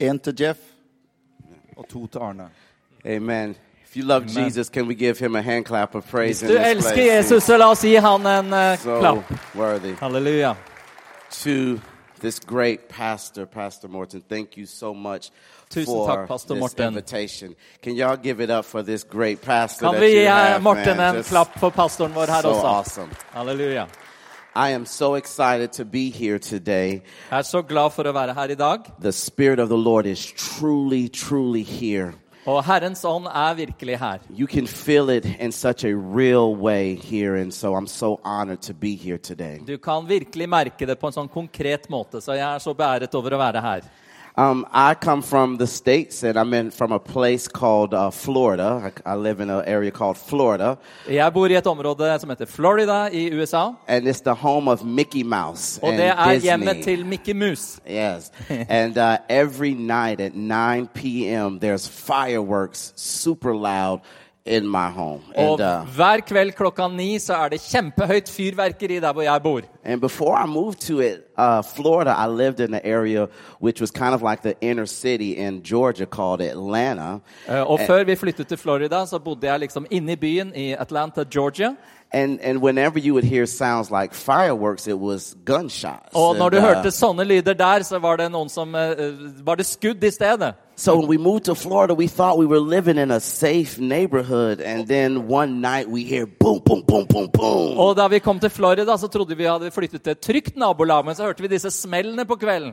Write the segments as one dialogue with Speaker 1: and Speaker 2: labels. Speaker 1: Én til Jeff og to til Arne.
Speaker 2: Amen. If you love
Speaker 3: Amen.
Speaker 2: Jesus, can we give him a hand clap of praise
Speaker 3: Hvis
Speaker 2: in
Speaker 3: du
Speaker 2: this
Speaker 3: elsker
Speaker 2: place?
Speaker 3: Jesus, så la oss gi han en eh,
Speaker 2: so
Speaker 3: klapp.
Speaker 2: worthy.
Speaker 3: Halleluja.
Speaker 2: To this great pastor, Pastor Morton, thank you so much
Speaker 3: Tusen
Speaker 2: for
Speaker 3: takk, Pastor
Speaker 2: this
Speaker 3: Morten.
Speaker 2: invitation. Can y'all give it up for this great pastor
Speaker 3: Kan
Speaker 2: that
Speaker 3: vi
Speaker 2: you
Speaker 3: gi eh,
Speaker 2: have,
Speaker 3: Morten
Speaker 2: man?
Speaker 3: en
Speaker 2: Just
Speaker 3: klapp for pastoren vår her
Speaker 2: so
Speaker 3: også?
Speaker 2: awesome.
Speaker 3: Halleluja.
Speaker 2: I am so excited to be here today.
Speaker 3: Jeg er så glad for å være her i dag.
Speaker 2: The Spirit of the Lord is truly, truly here.
Speaker 3: Og Herrens ånd er virkelig her.
Speaker 2: You can feel it in such a real way here, and so I'm so honored to be here today.
Speaker 3: Du kan virkelig merke det på en sånn konkret måte, så jeg er så beæret over å være her.
Speaker 2: Um, I come from the States, and I'm in, from a place called uh, Florida. I, I live in an area called Florida,
Speaker 3: Jeg bor i et område som heter Florida i USA,
Speaker 2: and it's the home of Mickey Mouse
Speaker 3: og
Speaker 2: and
Speaker 3: det er
Speaker 2: Disney.
Speaker 3: hjemmet til Mickey Mus.
Speaker 2: Yes. and uh, every night at 9 p.m., there's fireworks super loud in my home. And,
Speaker 3: Og
Speaker 2: uh,
Speaker 3: hver kveld klokka ni så er det kjempehøyt fyrverkeri der hvor jeg bor.
Speaker 2: and before I moved to it, uh, Florida, I lived in an area which was kind of like the inner city in Georgia called Atlanta.
Speaker 3: Eh, Og før vi flyttet til Florida, så bodde jeg liksom inne i byen i Atlanta, Georgia.
Speaker 2: And and whenever you would hear sounds like fireworks, it was gunshots.
Speaker 3: Og når du
Speaker 2: And, uh,
Speaker 3: hørte sånne lyder der, så var det noen som eh, Var det skudd i stedet?
Speaker 2: so when we moved to Florida, we thought we were living in a safe neighborhood, and then one night we hear boom, boom, boom, boom, boom.
Speaker 3: Og da vi kom til Florida, så trodde vi hadde flyttet til et trygt nabolag, men så hørte vi disse smellene på kvelden.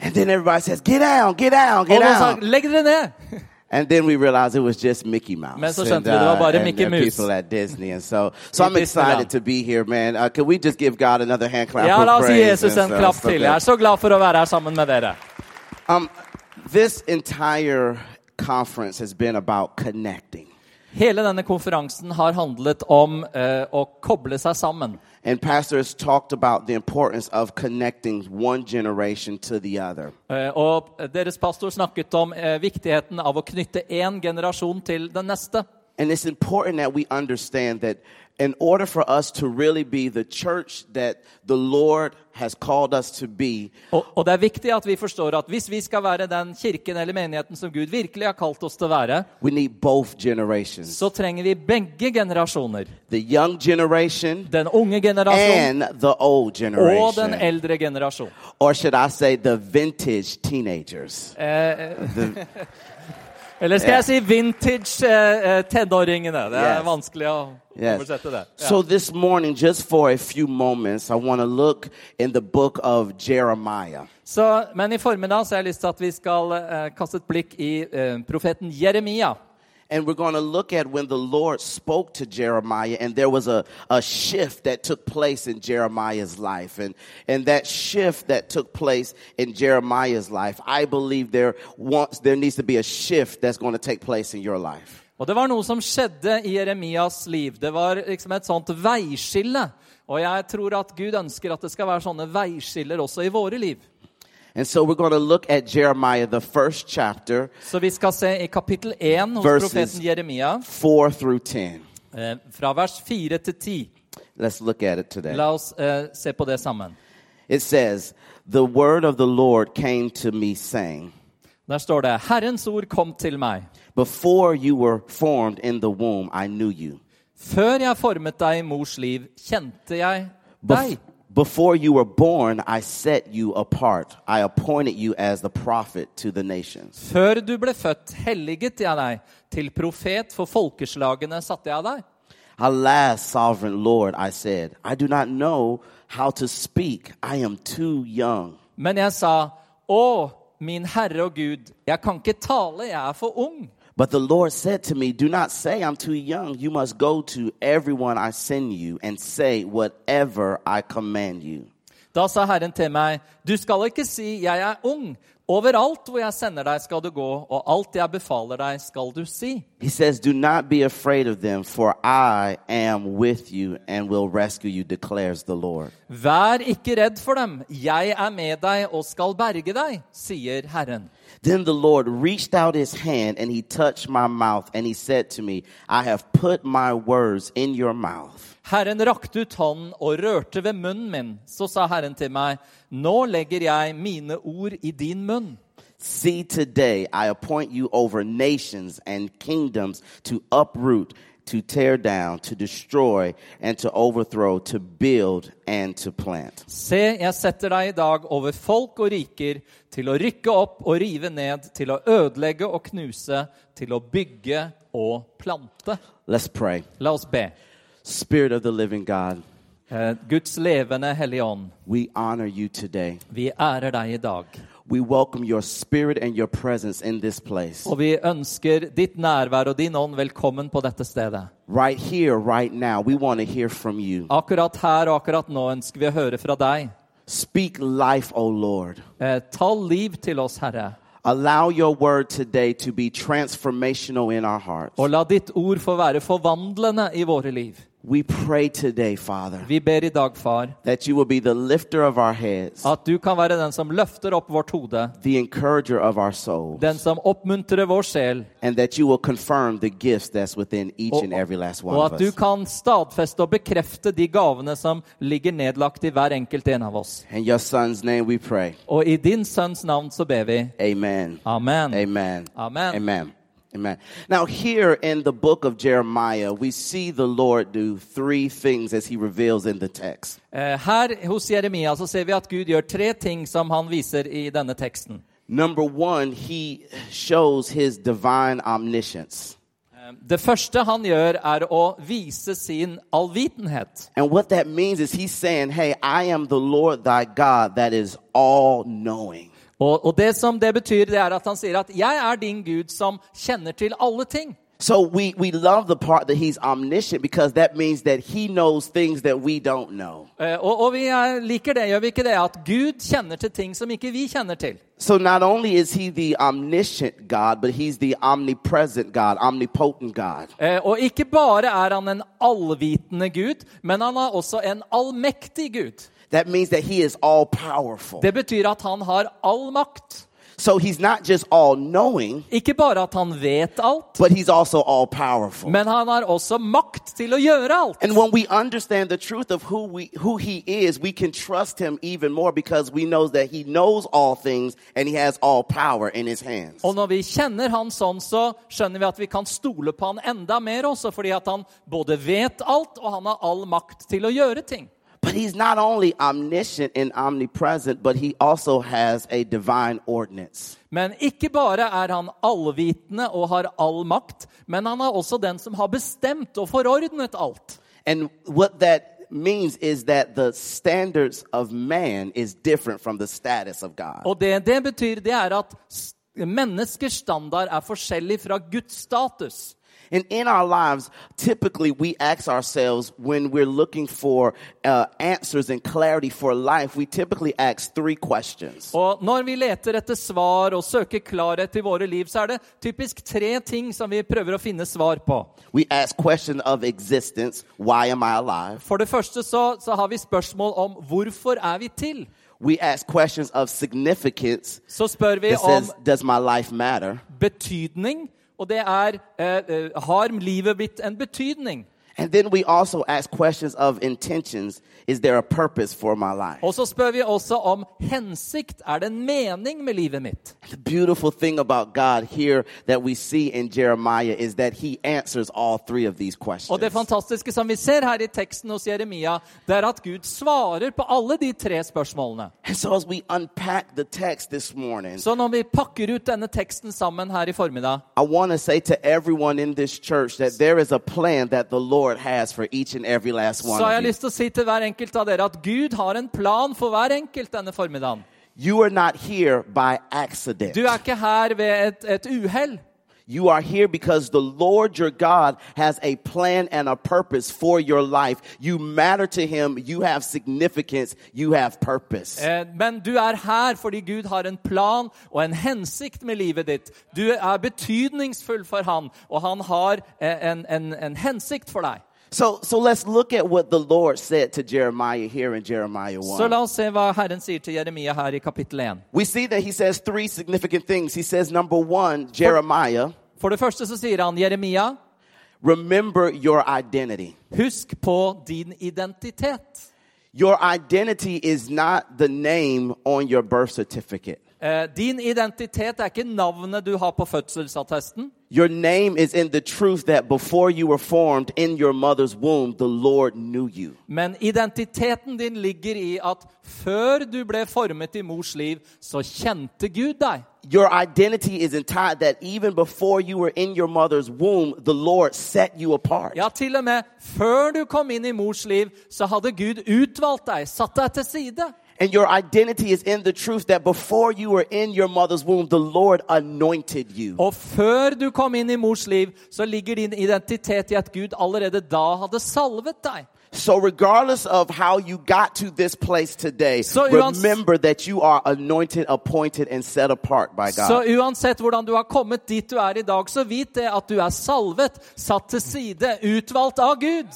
Speaker 2: And then everybody says, "Get down, get down,
Speaker 3: Og
Speaker 2: get
Speaker 3: noen sa
Speaker 2: down."
Speaker 3: 'legg dere ned'!
Speaker 2: And then we realized it was just Mickey Mouse
Speaker 3: Men så
Speaker 2: and, uh,
Speaker 3: skjønte vi det var bare
Speaker 2: and
Speaker 3: Mickey
Speaker 2: the
Speaker 3: Mouse.
Speaker 2: people at Disney. And so, so
Speaker 3: I
Speaker 2: I'm excited
Speaker 3: Disneyland.
Speaker 2: to be here, man. Uh, can we just give God another hand clap?
Speaker 3: Ja,
Speaker 2: for
Speaker 3: la oss gi
Speaker 2: praise
Speaker 3: Jesus
Speaker 2: and
Speaker 3: en
Speaker 2: so-
Speaker 3: klapp
Speaker 2: so
Speaker 3: til.
Speaker 2: good.
Speaker 3: Jeg er så glad for å være her sammen med dere.
Speaker 2: Um, this entire conference has been about connecting.
Speaker 3: Hele denne konferansen har handlet om eh, å koble seg sammen.
Speaker 2: And Pastor has talked about the importance of connecting one generation to the other.
Speaker 3: Eh, og deres pastor snakket om eh, viktigheten av å knytte én generasjon til den neste.
Speaker 2: And it's important that we understand that in order for us to really be the church that the Lord has called us to be,
Speaker 3: Og, og det er viktig at vi forstår at hvis vi skal være den kirken eller menigheten som Gud virkelig har kalt oss til å være,
Speaker 2: we need both generations
Speaker 3: så trenger vi begge generasjoner.
Speaker 2: the young generation
Speaker 3: Den unge generasjon
Speaker 2: and the old
Speaker 3: og den
Speaker 2: generation.
Speaker 3: eldre generasjon.
Speaker 2: Or should I say, the vintage teenagers.
Speaker 3: Eller skal jeg si vintage eh, eh, tenåringene? Det er
Speaker 2: Yes.
Speaker 3: vanskelig å
Speaker 2: Yes.
Speaker 3: oversette det. Ja.
Speaker 2: So this morning, just for a few moments, I want to look in the book of Jeremiah.
Speaker 3: Så, men i formiddag så har jeg lyst til at vi skal eh, kaste et blikk i eh, profeten Jeremia.
Speaker 2: And we're going to look at when the Lord spoke to Jeremiah, and there was a, a shift that took place in Jeremiah's life. And, and that shift that took place in Jeremiah's life, I believe there, wants, there needs to be a shift that's going to take place in your life.
Speaker 3: Og det var noe som skjedde i Jeremias liv. Det var liksom et sånt veiskille. Og jeg tror at Gud ønsker at det skal være sånne veiskiller også i våre liv.
Speaker 2: And so we're going to look at Jeremiah, the first chapter,
Speaker 3: Så vi skal se i kapittel 1 hos
Speaker 2: Verses-
Speaker 3: profeten Jeremia,
Speaker 2: 4 through 10.
Speaker 3: eh, fra vers 4 til 10.
Speaker 2: Let's look at it today.
Speaker 3: La oss eh, se på det sammen.
Speaker 2: It says, The word of the Lord came to me, saying,
Speaker 3: Der står det Herrens ord kom til meg.
Speaker 2: Before you were formed in the womb, I knew you.
Speaker 3: Før jeg formet deg i mors liv, kjente jeg deg.
Speaker 2: Bef- before you were born, I set you apart. I appointed you as the prophet to the nations.
Speaker 3: Før du ble født, helliget jeg deg. Til profet for folkeslagene satte jeg deg.
Speaker 2: Alas, sovereign Lord, I said, I do not know how to speak. I am too young.
Speaker 3: Men jeg sa, Å, min Herre og Gud, jeg kan ikke tale, jeg er for ung.
Speaker 2: But the Lord said to me, Do not say I'm too young. You must go to everyone I send you and say whatever I command you.
Speaker 3: Da sa Herren til meg, du skal ikke si jeg er ung. Overalt hvor jeg sender deg, skal du gå, og alt jeg befaler deg, skal du si.
Speaker 2: He says, Do not be afraid of them, for I am with you and will rescue you, declares the Lord.
Speaker 3: Vær ikke redd for dem, jeg er med deg og skal berge deg, sier Herren.
Speaker 2: Then the Lord reached out his hand and he touched my mouth and he said to me, I have put my words in your mouth.
Speaker 3: Herren rakte ut hånden og rørte ved munnen min. Så sa Herren til meg, nå legger jeg mine ord i din munn.
Speaker 2: See today, I appoint you over nations and kingdoms to uproot, to tear down, to destroy, and to overthrow, to build and to plant.
Speaker 3: Se, jeg setter deg i dag over folk og riker, til å rykke opp og rive ned, til å ødelegge og knuse, til å bygge og plante.
Speaker 2: Let's pray.
Speaker 3: La oss be.
Speaker 2: Spirit of the living God,
Speaker 3: Eh, Guds levende Hellige Ånd,
Speaker 2: we honor you today.
Speaker 3: vi ærer deg i dag.
Speaker 2: We welcome your spirit and your presence in this place.
Speaker 3: Og vi ønsker ditt nærvær og din ånd velkommen på dette stedet.
Speaker 2: Right here, right now, we want to hear from you.
Speaker 3: Akkurat her og akkurat nå ønsker vi å høre fra deg.
Speaker 2: Speak life, O Lord.
Speaker 3: Eh, ta liv til oss, Herre,
Speaker 2: Allow your word today to be transformational in our hearts.
Speaker 3: og la ditt ord få være forvandlende i våre liv.
Speaker 2: We pray today, Father,
Speaker 3: Vi ber i dag, Far,
Speaker 2: that you will be the lifter of our heads,
Speaker 3: at du kan være den som løfter opp vårt hode,
Speaker 2: the encourager of our souls,
Speaker 3: den som oppmuntrer vår sjel,
Speaker 2: and that you will confirm the gifts that's within each
Speaker 3: og,
Speaker 2: and every last
Speaker 3: og
Speaker 2: one
Speaker 3: at
Speaker 2: of
Speaker 3: du
Speaker 2: us.
Speaker 3: kan stadfeste og bekrefte de gavene som ligger nedlagt i hver enkelt en av oss.
Speaker 2: In your son's name we pray.
Speaker 3: Og i din sønns navn så ber vi.
Speaker 2: Amen.
Speaker 3: Amen.
Speaker 2: Amen.
Speaker 3: Amen.
Speaker 2: Amen. Amen. Now, here in the book of Jeremiah, we see the Lord do three things as he reveals in the text.
Speaker 3: Eh, Her hos Jeremia så ser vi at Gud gjør tre ting som han viser i denne teksten.
Speaker 2: Number one, he shows his divine omniscience.
Speaker 3: Eh, Det første han gjør, er å vise sin allvitenhet.
Speaker 2: And what that means is he's saying, Hey, I am the Lord thy God that is all knowing.
Speaker 3: Og, og det som det betyr, det er at han sier at 'jeg er din Gud som kjenner til alle ting'.
Speaker 2: So we, we love the part that he's omniscient because that means that he knows things that we don't know.
Speaker 3: Eh, Og, og vi eh, liker det, gjør vi ikke det? At Gud kjenner til ting som ikke vi kjenner til.
Speaker 2: So not only is he the omniscient God, but he's the omnipresent God, omnipotent God.
Speaker 3: Eh, Og ikke bare er han en allvitende Gud, men han er også en allmektig Gud.
Speaker 2: That means that he is all powerful.
Speaker 3: Det betyr at han har all makt.
Speaker 2: So he's not just all knowing,
Speaker 3: Ikke bare at han vet alt.
Speaker 2: but he's also all powerful.
Speaker 3: Men han har også makt til å gjøre alt.
Speaker 2: And when we understand the truth of who we who he is, we can trust him even more because we know that he knows all things and he has all power in his hands.
Speaker 3: Og når vi kjenner han sånn, så skjønner vi at vi kan stole på han enda mer også, fordi at han både vet alt, og han har all makt til å gjøre ting.
Speaker 2: But he's not only omniscient and omnipresent, but he also has a divine ordinance.
Speaker 3: Men ikke bare er han allvitende og har all makt, men han er også den som har bestemt og forordnet alt.
Speaker 2: And what that means is that the standards of man is different from the status of God.
Speaker 3: Og det det betyr, det er at s- menneskers standard er forskjellig fra Guds status.
Speaker 2: And in our lives, typically we ask ourselves when we're looking for uh, answers and clarity for life, we typically ask three questions.
Speaker 3: Og når vi leter etter svar og søker klarhet i våre liv, så er det typisk tre ting som vi prøver å finne svar på.
Speaker 2: We ask question of existence, why am I alive?
Speaker 3: For det første så, så har vi spørsmål om hvorfor er vi til?
Speaker 2: We ask questions of significance
Speaker 3: Så spør vi
Speaker 2: that
Speaker 3: om
Speaker 2: says, does my life matter?
Speaker 3: betydning, og det er eh, eh, har livet blitt en betydning?
Speaker 2: And then we also ask questions of intentions, is there a purpose for my life?
Speaker 3: Og så spør vi også om hensikt. Er det en mening med livet mitt?
Speaker 2: The beautiful thing about God here that we see in Jeremiah is that he answers all three of these
Speaker 3: Og det er
Speaker 2: questions.
Speaker 3: fantastiske som vi ser her i teksten hos Jeremia, det er at Gud svarer på alle de tre spørsmålene.
Speaker 2: And so, as we unpack the text this morning,
Speaker 3: Så når vi pakker ut denne teksten sammen her i formiddag,
Speaker 2: I want to say to everyone in this church that there is a plan that the Lord has for each and every last one
Speaker 3: Så har jeg
Speaker 2: of you.
Speaker 3: lyst til å si til hver enkelt av dere at Gud har en plan for hver enkelt denne formiddagen.
Speaker 2: You are not here by accident.
Speaker 3: Du er ikke her ved et, et uhell.
Speaker 2: You are here because the Lord your God has a plan and a purpose for your life. You matter to Him. You have significance. You have purpose.
Speaker 3: Eh, Men du er her fordi Gud har en plan og en hensikt med livet ditt. Du er betydningsfull for Han, og Han har eh, en, en, en hensikt for deg.
Speaker 2: So, so let's look at what the Lord said to Jeremiah here in Jeremiah 1.
Speaker 3: Så la oss se hva Herren sier til Jeremia her i kapittel 1.
Speaker 2: we see that He says three significant things. He says, number one, Jeremiah,
Speaker 3: For det første så sier han, Jeremia,
Speaker 2: remember your identity.
Speaker 3: husk på din identitet.
Speaker 2: Your identity is not the name on your birth certificate.
Speaker 3: Eh, Din identitet er ikke navnet du har på fødselsattesten.
Speaker 2: Your name is in the truth that before you were formed in your mother's womb, the Lord knew you.
Speaker 3: Men identiteten din ligger i at før du ble formet i mors liv, så kjente Gud deg.
Speaker 2: Your identity is entitled that even before you were in your mother's womb, the Lord set you apart.
Speaker 3: Ja, til og med før du kom inn i mors liv, så hadde Gud utvalgt deg, satt deg til side.
Speaker 2: And your identity is in the truth that before you were in your mother's womb, the Lord anointed you.
Speaker 3: Og før du kom inn i mors liv, så ligger din identitet i at Gud allerede da hadde salvet deg.
Speaker 2: So, regardless of how you got to this place today,
Speaker 3: So you ans-
Speaker 2: remember that you are anointed, appointed, and set apart by God.
Speaker 3: Så uansett hvordan du har kommet dit du er i dag, så vit det at du er salvet, satt til side, utvalgt av Gud.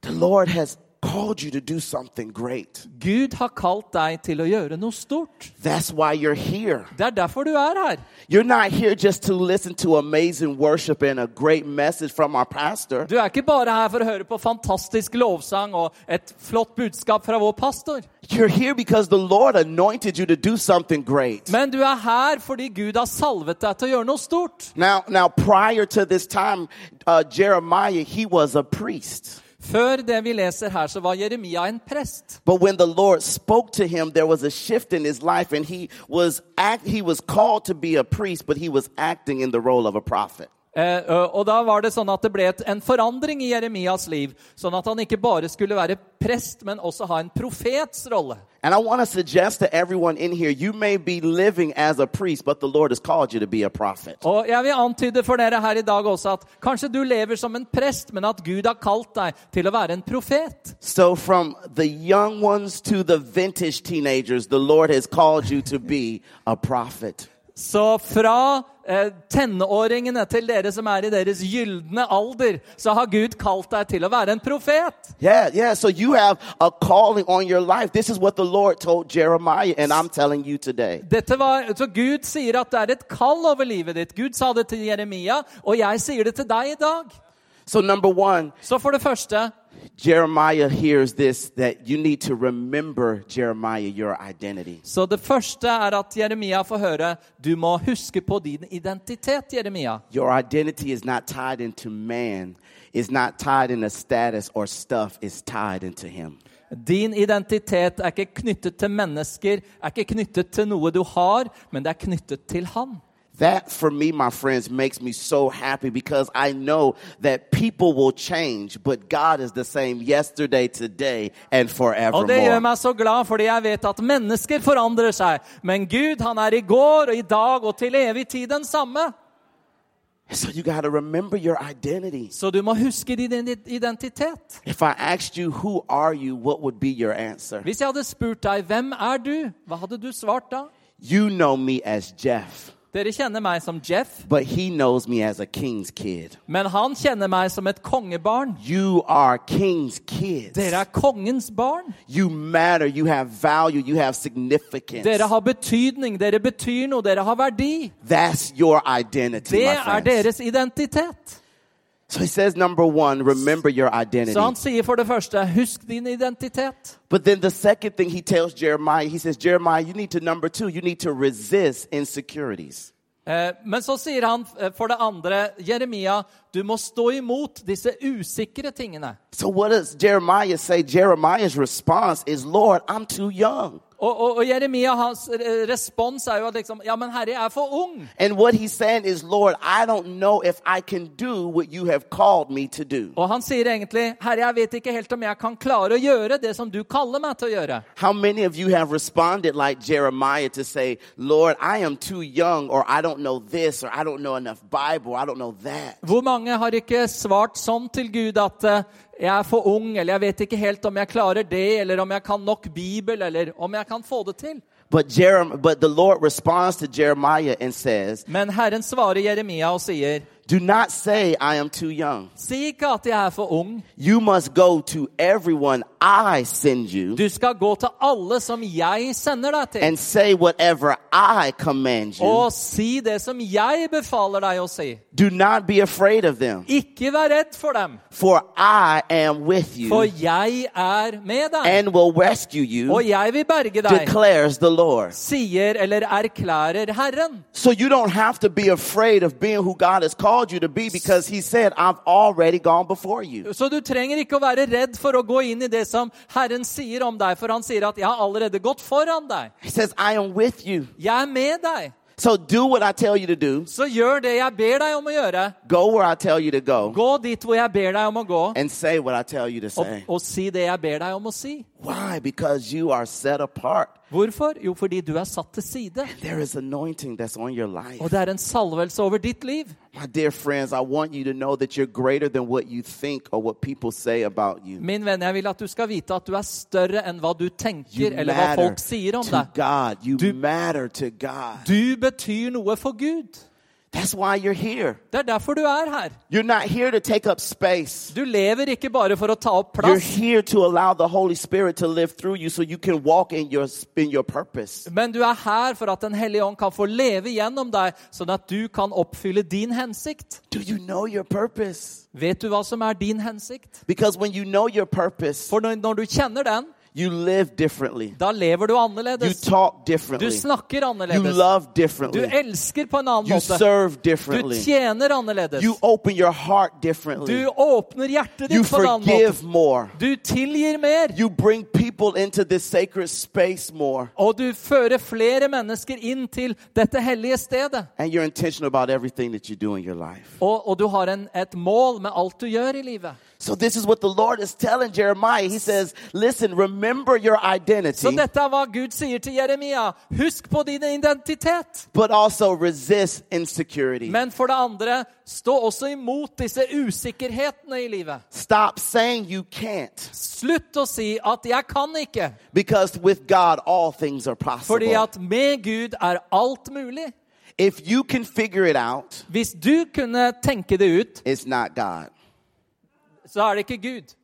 Speaker 2: the Lord has called you to do something great.
Speaker 3: Gud har kalt deg til å gjøre noe stort.
Speaker 2: That's why you're here.
Speaker 3: Det er derfor du er her.
Speaker 2: You're not here just to listen to amazing worship and a great message from our pastor.
Speaker 3: Du er ikke bare her for å høre på fantastisk lovsang og et flott budskap fra vår pastor.
Speaker 2: You're here because the Lord anointed you to do something great.
Speaker 3: Men du er her fordi Gud har salvet deg til å gjøre noe stort.
Speaker 2: Now, now, prior to this time, uh, Jeremiah he was a priest,
Speaker 3: Før det vi leser her, så var Jeremia en prest.
Speaker 2: but when the Lord spoke to him, there was a shift in his life, and he was act, he was called to be a priest, but he was acting in the role of a prophet.
Speaker 3: Eh, ø, og da var det sånn at det ble et, en forandring i Jeremias liv, sånn at han ikke bare skulle være prest, men også ha en profets rolle.
Speaker 2: And I want to suggest to everyone in here, you may be living as a priest, but the Lord has called you to be a prophet.
Speaker 3: Og jeg vil antyde for dere her i dag også at kanskje du lever som en prest, men at Gud har kalt deg til å være en profet.
Speaker 2: So, from the young ones to the vintage teenagers, the Lord has called you to be a prophet.
Speaker 3: Så fra eh, tenåringene til dere som er i deres gylne alder, så har Gud kalt deg til å være en profet.
Speaker 2: Yeah, yeah. So, you have a calling on your life. This is what the Lord told Jeremiah, and I'm telling you today.
Speaker 3: Dette var, så Gud sier at det er et kall over livet ditt. Gud sa det til Jeremia, og jeg sier det til deg i dag.
Speaker 2: So, number one,
Speaker 3: Så for det første
Speaker 2: Jeremiah hears this that you need to remember, Jeremiah, your identity.
Speaker 3: Så det første er at Jeremia får høre du må huske på din identitet. Jeremia.
Speaker 2: Your identity is not tied into man, it's not tied into status or stuff, it's tied into Him.
Speaker 3: Din identitet er ikke knyttet til mennesker, er ikke knyttet til noe du har, men det er knyttet til Han.
Speaker 2: That for me, my friends, makes me so happy because I know that people will change, but God is the same yesterday, today, and
Speaker 3: Og det gjør
Speaker 2: forevermore.
Speaker 3: meg så glad, fordi jeg vet at mennesker forandrer seg. Men Gud, han er i går og i dag og til evig tid den samme.
Speaker 2: So you got to remember your identity.
Speaker 3: Så du må huske din ident- identitet.
Speaker 2: If I asked you, who are you, what would be your answer?
Speaker 3: Hvis jeg hadde spurt deg hvem er du, hva hadde du svart da?
Speaker 2: You know me as Jeff,
Speaker 3: Dere kjenner meg som Jeff,
Speaker 2: but he knows me as a king's kid.
Speaker 3: men han kjenner meg som et kongebarn.
Speaker 2: You are king's kids.
Speaker 3: Dere er kongens barn.
Speaker 2: You matter. You have value. You have significance.
Speaker 3: Dere har betydning. Dere betyr noe. Dere har verdi.
Speaker 2: That's your identity,
Speaker 3: Det
Speaker 2: my
Speaker 3: er
Speaker 2: friends.
Speaker 3: deres identitet.
Speaker 2: So he says, number one, remember your identity.
Speaker 3: Så han sier for det første, husk din identitet.
Speaker 2: But then the second thing he tells Jeremiah, he says, Jeremiah, you need to, number two, you need to resist insecurities.
Speaker 3: Eh, Men så sier han eh, for det andre, Jeremia, du må stå imot disse usikre tingene.
Speaker 2: So what does Jeremiah say? Jeremiah's response is, Lord, I'm too young.
Speaker 3: Og, og, og Jeremia, hans eh, respons er jo at liksom, ja, men herre, jeg er for ung.
Speaker 2: And what he's saying is, Lord, I don't know if I can do what you have called me to do.
Speaker 3: Og han sier egentlig, herre, jeg vet ikke helt om jeg kan klare å gjøre det som du kaller meg til å gjøre.
Speaker 2: How many of you have responded like Jeremiah to say, Lord, I am too young, or I don't know this, or I don't know enough Bible, I don't know that?
Speaker 3: Hvor mange har ikke svart sånn til Gud at eh, jeg er for ung, eller jeg vet ikke helt om jeg klarer det, eller om jeg kan nok Bibel, eller om jeg kan få det til?
Speaker 2: But, Jerem- but the Lord responds to Jeremiah and says,
Speaker 3: Men Herren svarer Jeremia og sier,
Speaker 2: Do not say, I am too young.
Speaker 3: Si ikke at jeg er for ung.
Speaker 2: You must go to everyone I send you
Speaker 3: Du skal gå til alle som jeg sender deg til,
Speaker 2: and say whatever I command you.
Speaker 3: og si det som jeg befaler deg å si.
Speaker 2: Do not be afraid of them,
Speaker 3: Ikke vær redd for dem,
Speaker 2: for I am with
Speaker 3: for
Speaker 2: you
Speaker 3: jeg er med deg,
Speaker 2: and will rescue you,
Speaker 3: og jeg vil berge deg,
Speaker 2: declares the Lord.
Speaker 3: sier eller erklærer Herren.
Speaker 2: So you don't have to be afraid of being who God has called you to be because He said, I've already gone before you.
Speaker 3: Så du trenger ikke å være redd for å gå inn i det som Herren sier om deg, for han sier at 'jeg har allerede gått foran deg'.
Speaker 2: He says, I am with you.
Speaker 3: Jeg er med deg.
Speaker 2: So do what I tell you to do,
Speaker 3: Så gjør det jeg ber deg om å gjøre.
Speaker 2: go where I tell you to go,
Speaker 3: Gå dit hvor jeg ber deg om å gå,
Speaker 2: and say what I tell you to
Speaker 3: og,
Speaker 2: say.
Speaker 3: og si det jeg ber deg om å si.
Speaker 2: Why? Because you are set apart.
Speaker 3: Hvorfor? Jo, fordi du er satt til side.
Speaker 2: There is anointing that's on your life.
Speaker 3: Og det er en salvelse over ditt liv.
Speaker 2: My dear friends, I want you to know that you're greater than what you think or what people say about you.
Speaker 3: Min venn, jeg vil at du skal vite at du er større enn hva du
Speaker 2: You
Speaker 3: tenker, eller hva
Speaker 2: matter
Speaker 3: folk sier om
Speaker 2: to
Speaker 3: deg.
Speaker 2: God. You
Speaker 3: Du-
Speaker 2: matter to God.
Speaker 3: Du betyr noe for Gud.
Speaker 2: That's why you're here.
Speaker 3: Det er derfor du er her.
Speaker 2: You're not here to take up space.
Speaker 3: Du lever ikke bare for å ta opp
Speaker 2: You're
Speaker 3: plass,
Speaker 2: here to allow the Holy Spirit to live through you so you can walk in your in your purpose.
Speaker 3: men du er her for at Den hellige ånd kan få leve gjennom deg, sånn at du kan oppfylle din hensikt.
Speaker 2: Do you know your purpose?
Speaker 3: Vet du hva som er din hensikt?
Speaker 2: Because when you know your purpose,
Speaker 3: For når, når du kjenner den,
Speaker 2: you live differently.
Speaker 3: da lever du
Speaker 2: You
Speaker 3: annerledes.
Speaker 2: talk
Speaker 3: Du
Speaker 2: differently.
Speaker 3: snakker
Speaker 2: You
Speaker 3: annerledes.
Speaker 2: love
Speaker 3: Du
Speaker 2: differently.
Speaker 3: elsker på en annen
Speaker 2: You
Speaker 3: måte.
Speaker 2: serve
Speaker 3: Du
Speaker 2: differently.
Speaker 3: tjener annerledes.
Speaker 2: You open your heart
Speaker 3: Du
Speaker 2: differently.
Speaker 3: åpner hjertet
Speaker 2: You
Speaker 3: ditt på en annen måte.
Speaker 2: forgive more.
Speaker 3: Du tilgir mer.
Speaker 2: You bring people into this sacred space more.
Speaker 3: Og du fører flere mennesker inn til dette hellige stedet.
Speaker 2: And you're intentional about everything that you do in your life.
Speaker 3: Og, og du har en, et mål med alt du gjør i livet.
Speaker 2: So this is what the Lord is telling Jeremiah. He says, listen, remember your
Speaker 3: Så
Speaker 2: identity,
Speaker 3: dette er hva Gud sier til Jeremia. Husk på din identitet.
Speaker 2: but also resist insecurity.
Speaker 3: Men for det andre, stå også imot disse usikkerhetene i livet.
Speaker 2: Stop saying you can't
Speaker 3: Slutt å si at 'jeg kan ikke',
Speaker 2: because with God, all things are
Speaker 3: fordi
Speaker 2: possible.
Speaker 3: at med Gud er alt mulig.
Speaker 2: If you can figure it out,
Speaker 3: Hvis du kunne tenke det ut,
Speaker 2: it's not God.
Speaker 3: så er det ikke Gud.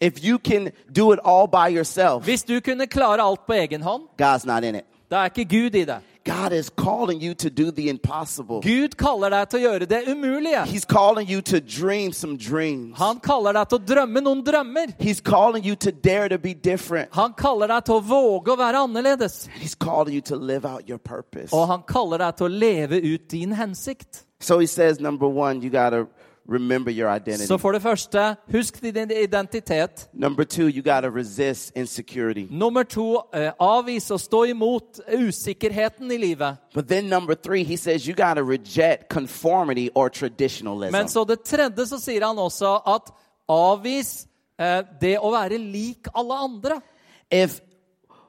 Speaker 2: If you can do it all by yourself,
Speaker 3: Hvis du kunne klare alt på egen hånd,
Speaker 2: God's not in it.
Speaker 3: da er ikke Gud i det.
Speaker 2: God is calling you to do the impossible.
Speaker 3: Gud kaller deg til å gjøre det umulige.
Speaker 2: He's calling you to dream some dreams.
Speaker 3: Han kaller deg til å drømme noen drømmer.
Speaker 2: He's calling you to dare to be different.
Speaker 3: Han kaller deg til å våge å være annerledes.
Speaker 2: He's calling you to live out your purpose.
Speaker 3: Og han kaller deg til å leve ut din hensikt.
Speaker 2: So he says, number one, you got to remember your identity.
Speaker 3: Så for det første, husk din identitet.
Speaker 2: Number two, you got to resist insecurity.
Speaker 3: Nummer to, eh, avvis og stå imot usikkerheten i livet.
Speaker 2: But then number three, he says, you got to reject conformity or traditionalism.
Speaker 3: Men så det tredje så sier han også at avvis eh, det å være lik alle andre.
Speaker 2: if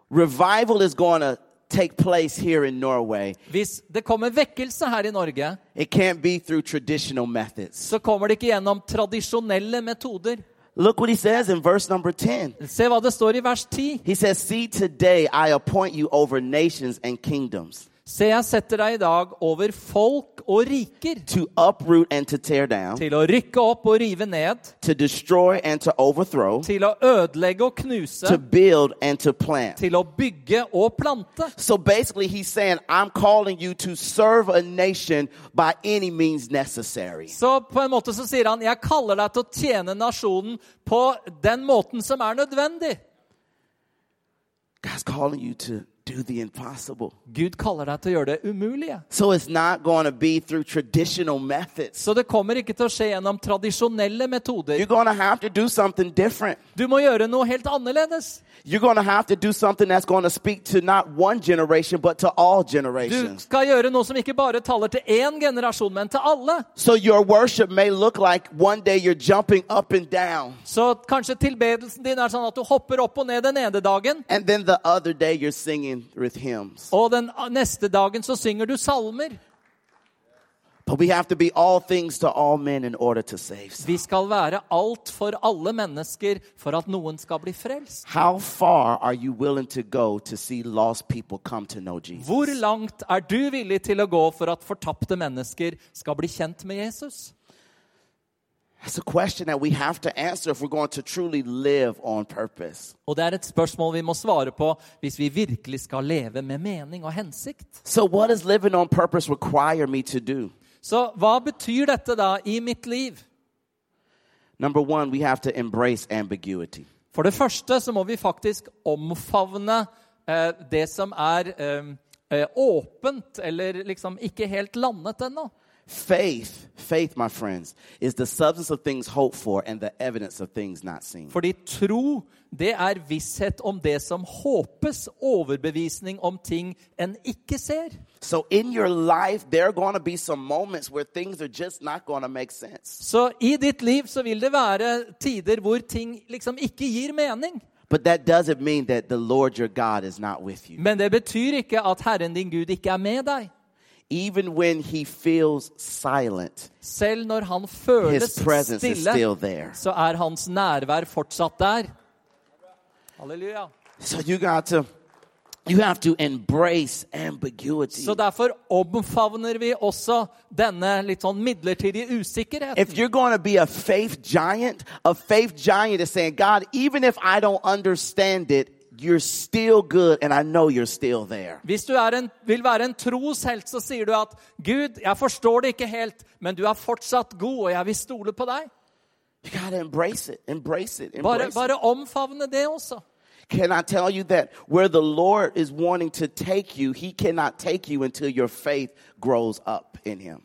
Speaker 2: revival is going to take place here in Norway,
Speaker 3: Hvis det kommer vekkelse her i Norge,
Speaker 2: it can't be through traditional methods.
Speaker 3: så kommer det ikke gjennom tradisjonelle metoder.
Speaker 2: Look what he says in verse number 10.
Speaker 3: Se hva det står i vers 10.
Speaker 2: He says, See, today I appoint you over nations and kingdoms
Speaker 3: Se, jeg setter deg i dag over folk og riker
Speaker 2: to uproot and to tear down,
Speaker 3: til å rykke opp og rive ned,
Speaker 2: to destroy and to overthrow,
Speaker 3: til å ødelegge og knuse,
Speaker 2: to build and to plant.
Speaker 3: til å bygge og plante.
Speaker 2: So basically, he's saying, I'm calling you to serve a nation by any means necessary.
Speaker 3: Så på en måte så sier han, jeg kaller deg til å tjene nasjonen på den måten som er nødvendig.
Speaker 2: God's calling you to do the impossible.
Speaker 3: Gud kaller deg til å gjøre det umulige.
Speaker 2: So it's not going to be through traditional methods.
Speaker 3: Så det kommer ikke til å skje gjennom tradisjonelle metoder.
Speaker 2: You're going to have to do something different.
Speaker 3: Du må gjøre noe helt annerledes.
Speaker 2: You're going to have to do something that's going to speak to not one generation, but to all
Speaker 3: Du
Speaker 2: generations.
Speaker 3: skal gjøre noe som ikke bare taler til én generasjon, men til alle.
Speaker 2: So your worship may look like one day you're jumping up and down,
Speaker 3: Så kanskje tilbedelsen din er sånn at du hopper opp og ned den ene dagen,
Speaker 2: and then the other day you're singing with hymns.
Speaker 3: og den neste dagen så synger du salmer.
Speaker 2: But we have to be all things to all men in order to save some.
Speaker 3: Vi skal være alt for alle mennesker for at noen skal bli frelst.
Speaker 2: How far are you willing to go to see lost people come to know Jesus?
Speaker 3: Hvor langt er du villig til å gå for at fortapte mennesker skal bli kjent med Jesus?
Speaker 2: That's a question that we have to answer if we're going to truly live on purpose.
Speaker 3: Og det er et spørsmål vi må svare på hvis vi virkelig skal leve med mening og hensikt.
Speaker 2: So, what does living on purpose require me to do?
Speaker 3: Så hva betyr dette da i mitt liv?
Speaker 2: Number one, we have to embrace ambiguity.
Speaker 3: For det første så må vi faktisk omfavne eh, det som er eh, eh, åpent, eller liksom ikke helt landet ennå.
Speaker 2: Faith, faith, my friends, is the substance of things hoped for and the evidence of things not seen.
Speaker 3: Fordi tro, det er visshet om det som håpes, overbevisning om ting en ikke ser.
Speaker 2: So, in your life, there are going to be some moments where things are just not going to make sense.
Speaker 3: Så i ditt liv så vil det være tider hvor ting liksom ikke gir mening.
Speaker 2: But that doesn't mean that the Lord your God is not with you.
Speaker 3: Men det betyr ikke at Herren din Gud ikke er med deg.
Speaker 2: Even when he feels silent,
Speaker 3: Selv når han føles
Speaker 2: His presence is still
Speaker 3: stille,
Speaker 2: there.
Speaker 3: så er hans nærvær fortsatt der. Halleluja.
Speaker 2: So you got to you have to embrace ambiguity.
Speaker 3: Så derfor omfavner vi også denne litt sånn midlertidige usikkerheten.
Speaker 2: if you're going to be a faith giant, a faith giant is saying, God, even if I don't understand it, you're still good and I know you're still there.
Speaker 3: Hvis du er en, vil være en troshelt, så sier du at Gud, jeg forstår det ikke helt, men du er fortsatt god, og jeg vil stole på deg.
Speaker 2: You got to embrace it. Embrace it. Embrace
Speaker 3: Bare,
Speaker 2: it.
Speaker 3: bare omfavne det også.
Speaker 2: Can I tell you that where the Lord is wanting to take you, he cannot take you until your faith grows up in him.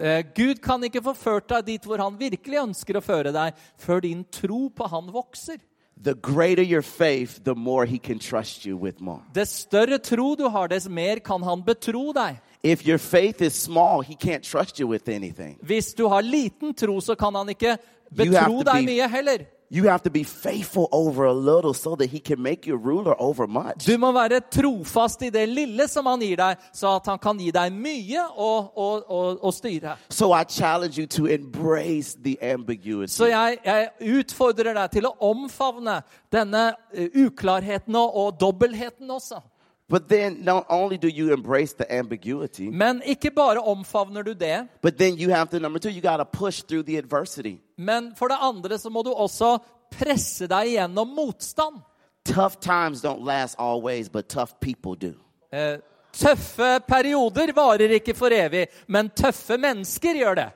Speaker 3: Eh, Gud kan ikke få ført deg dit hvor han virkelig ønsker å føre deg, før din tro på han vokser.
Speaker 2: The greater your faith, the more he can trust you with more.
Speaker 3: Dess større tro du har, dess mer kan han betro deg.
Speaker 2: If your faith is small, he can't trust you with anything.
Speaker 3: Hvis du har liten tro, så kan han ikke
Speaker 2: You have
Speaker 3: betro
Speaker 2: to
Speaker 3: deg
Speaker 2: be-
Speaker 3: mye heller.
Speaker 2: You have to be faithful over a little so that he can make you ruler over much.
Speaker 3: Du må være trofast i det lille som han gir deg, så at han kan gi deg mye å, å, å, å styre.
Speaker 2: So I challenge you to embrace the ambiguity.
Speaker 3: Så jeg, jeg utfordrer deg til å omfavne denne eh, uklarheten og, og dobbeltheten også.
Speaker 2: but then not only do you embrace the ambiguity,
Speaker 3: Men ikke bare omfavner du det,
Speaker 2: but then you have to number 2, you got to push through the adversity.
Speaker 3: men for det andre så må du også presse deg gjennom motstand.
Speaker 2: Tough times don't last always, but tough people do.
Speaker 3: Eh, tøffe perioder varer ikke for evig, men tøffe mennesker gjør det.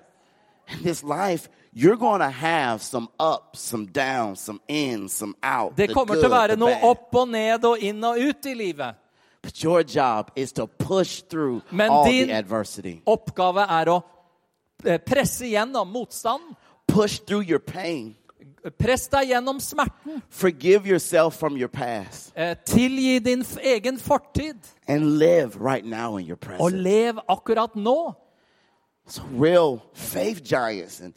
Speaker 2: In this life, you're going to have some ups, some downs, some ins, some out.
Speaker 3: Det
Speaker 2: the
Speaker 3: kommer
Speaker 2: good,
Speaker 3: til å
Speaker 2: the
Speaker 3: være noe
Speaker 2: bad.
Speaker 3: opp og ned og inn og ut i livet.
Speaker 2: But your job is to push through
Speaker 3: Men
Speaker 2: all
Speaker 3: din-
Speaker 2: the adversity.
Speaker 3: Oppgave er å eh, presse gjennom motstanden.
Speaker 2: Push through your pain.
Speaker 3: Press deg gjennom smerten.
Speaker 2: Forgive yourself from your past
Speaker 3: Eh, Tilgi din f- egen fortid.
Speaker 2: and live right now in your
Speaker 3: Og
Speaker 2: present.
Speaker 3: lev akkurat nå.
Speaker 2: So real faith giants and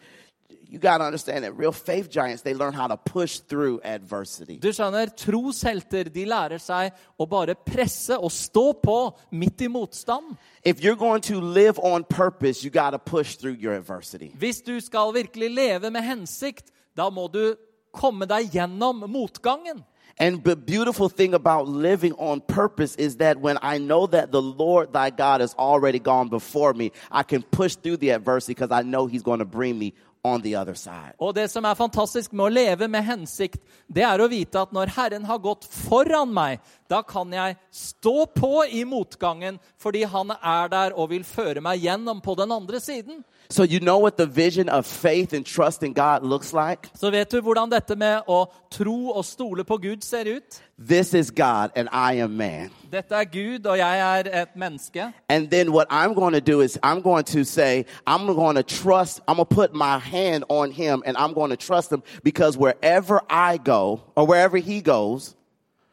Speaker 2: you got to understand that real faith giants they learn how to push through adversity.
Speaker 3: Du skjønner, troshelter de lærer seg å bare presse og stå på midt i motstand.
Speaker 2: If you're going to live on purpose, you got to push through your adversity.
Speaker 3: Hvis du skal virkelig leve med hensikt, da må du komme deg gjennom motgangen.
Speaker 2: And the beautiful thing about living on purpose is that when I know that the Lord thy God has already gone before me, I can push through the adversity because I know he's going to bring me on the other side.
Speaker 3: Og det som er fantastisk med å leve med hensikt, det er å vite at når Herren har gått foran meg, da kan jeg stå på i motgangen fordi han er der og vil føre meg gjennom på den andre siden.
Speaker 2: So you know what the vision of faith and trust in God looks like?
Speaker 3: Så vet du hvordan dette med å tro og stole på Gud ser ut?
Speaker 2: This is God and I am man.
Speaker 3: Dette er Gud, og jeg er et menneske.
Speaker 2: And then what I'm going to do is I'm going to say, I'm going to trust, I'm going to put my hand on him and I'm going to trust him because wherever I go or wherever he goes,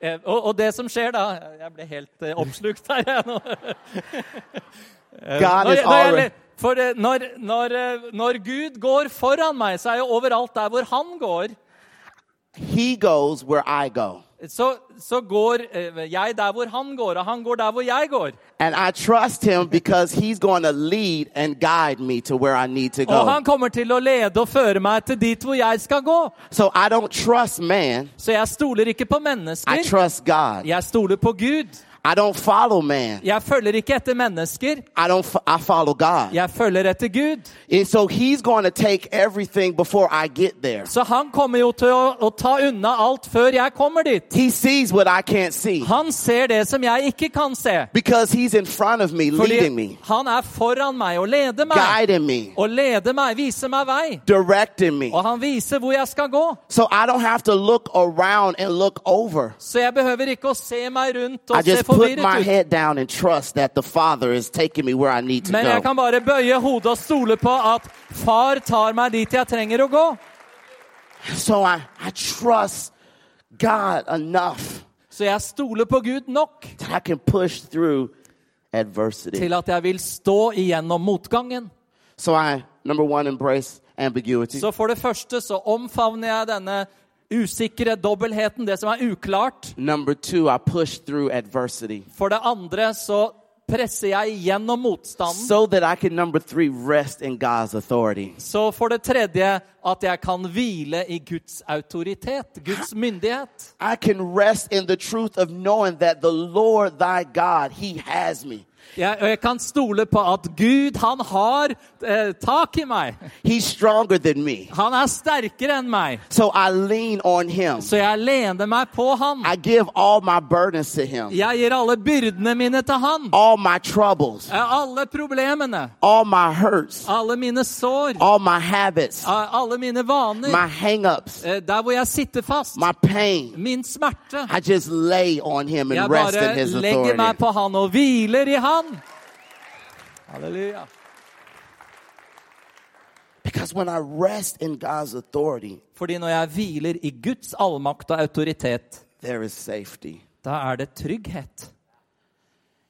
Speaker 3: Eh, Og, og det som skjer da Jeg ble helt eh, oppslukt her jeg nå.
Speaker 2: God
Speaker 3: Når,
Speaker 2: is
Speaker 3: jeg- når, jeg,
Speaker 2: already.
Speaker 3: le- for eh, når, når, eh, når Gud går foran meg, så er jeg overalt der hvor han går.
Speaker 2: He goes where I go.
Speaker 3: så, så går eh, jeg der hvor han går, og han går der hvor jeg går.
Speaker 2: And I trust him because he's going to lead and guide me to where I need to
Speaker 3: Og han
Speaker 2: go.
Speaker 3: kommer til å lede og føre meg til dit hvor jeg skal gå.
Speaker 2: So I don't trust man.
Speaker 3: Så jeg stoler ikke på
Speaker 2: I
Speaker 3: mennesker.
Speaker 2: trust God.
Speaker 3: Jeg stoler på Gud.
Speaker 2: I don't follow man.
Speaker 3: Jeg følger ikke etter mennesker.
Speaker 2: I don't fo- I follow God.
Speaker 3: Jeg følger etter Gud.
Speaker 2: And so he's going to take everything before I get there.
Speaker 3: Så han kommer jo til å, å ta unna alt før jeg kommer dit.
Speaker 2: He sees what I can't see
Speaker 3: Han ser det som jeg ikke kan se.
Speaker 2: because he's in front of me leading
Speaker 3: Fordi
Speaker 2: me,
Speaker 3: han er foran meg og leder
Speaker 2: Ah.
Speaker 3: meg.
Speaker 2: guiding me,
Speaker 3: Og leder meg, viser meg vei.
Speaker 2: directing me.
Speaker 3: Og han viser hvor jeg skal gå.
Speaker 2: So I don't have to look around and look over.
Speaker 3: Så jeg behøver ikke å se meg rundt
Speaker 2: I
Speaker 3: og se
Speaker 2: just put my
Speaker 3: forvirret ut.
Speaker 2: head down and trust that the Father is taking me where I need to
Speaker 3: Men jeg
Speaker 2: go.
Speaker 3: kan bare bøye hodet og stole på at far tar meg dit jeg trenger å gå.
Speaker 2: So I, I trust God enough
Speaker 3: Så jeg stoler på Gud nok
Speaker 2: that I can push through adversity.
Speaker 3: til at jeg vil stå igjennom motgangen.
Speaker 2: So I, number one, embrace ambiguity.
Speaker 3: Så for det første så omfavner jeg denne usikre dobbeltheten, det som er uklart.
Speaker 2: Number two, I push through adversity
Speaker 3: For det andre så presser jeg igjennom motstanden.
Speaker 2: so that I can, number three, rest in God's authority.
Speaker 3: Så for det tredje at jeg kan hvile i Guds autoritet, Guds myndighet.
Speaker 2: I can rest in the truth of knowing that the Lord thy God, he has me.
Speaker 3: Jeg, og jeg kan stole på at Gud, han har eh, tak i meg.
Speaker 2: He's stronger than me.
Speaker 3: Han er sterkere enn meg.
Speaker 2: So I lean on him.
Speaker 3: Så jeg lener meg på han.
Speaker 2: I give all my burdens to him,
Speaker 3: Jeg gir alle byrdene mine til han. Eh,
Speaker 2: all my troubles,
Speaker 3: Alle problemene,
Speaker 2: all my hurts,
Speaker 3: alle mine sår, Eh,
Speaker 2: all my habits,
Speaker 3: alle mine vaner,
Speaker 2: my hangups,
Speaker 3: eh, der hvor jeg sitter fast,
Speaker 2: my pain.
Speaker 3: min smerte.
Speaker 2: I just lay on him and
Speaker 3: Jeg
Speaker 2: rest
Speaker 3: bare
Speaker 2: in his
Speaker 3: legger meg
Speaker 2: authority.
Speaker 3: på han og hviler i han. Halleluja.
Speaker 2: Because when I rest in God's authority,
Speaker 3: Fordi når jeg hviler i Guds allmakt og autoritet,
Speaker 2: there is safety.
Speaker 3: da er det trygghet.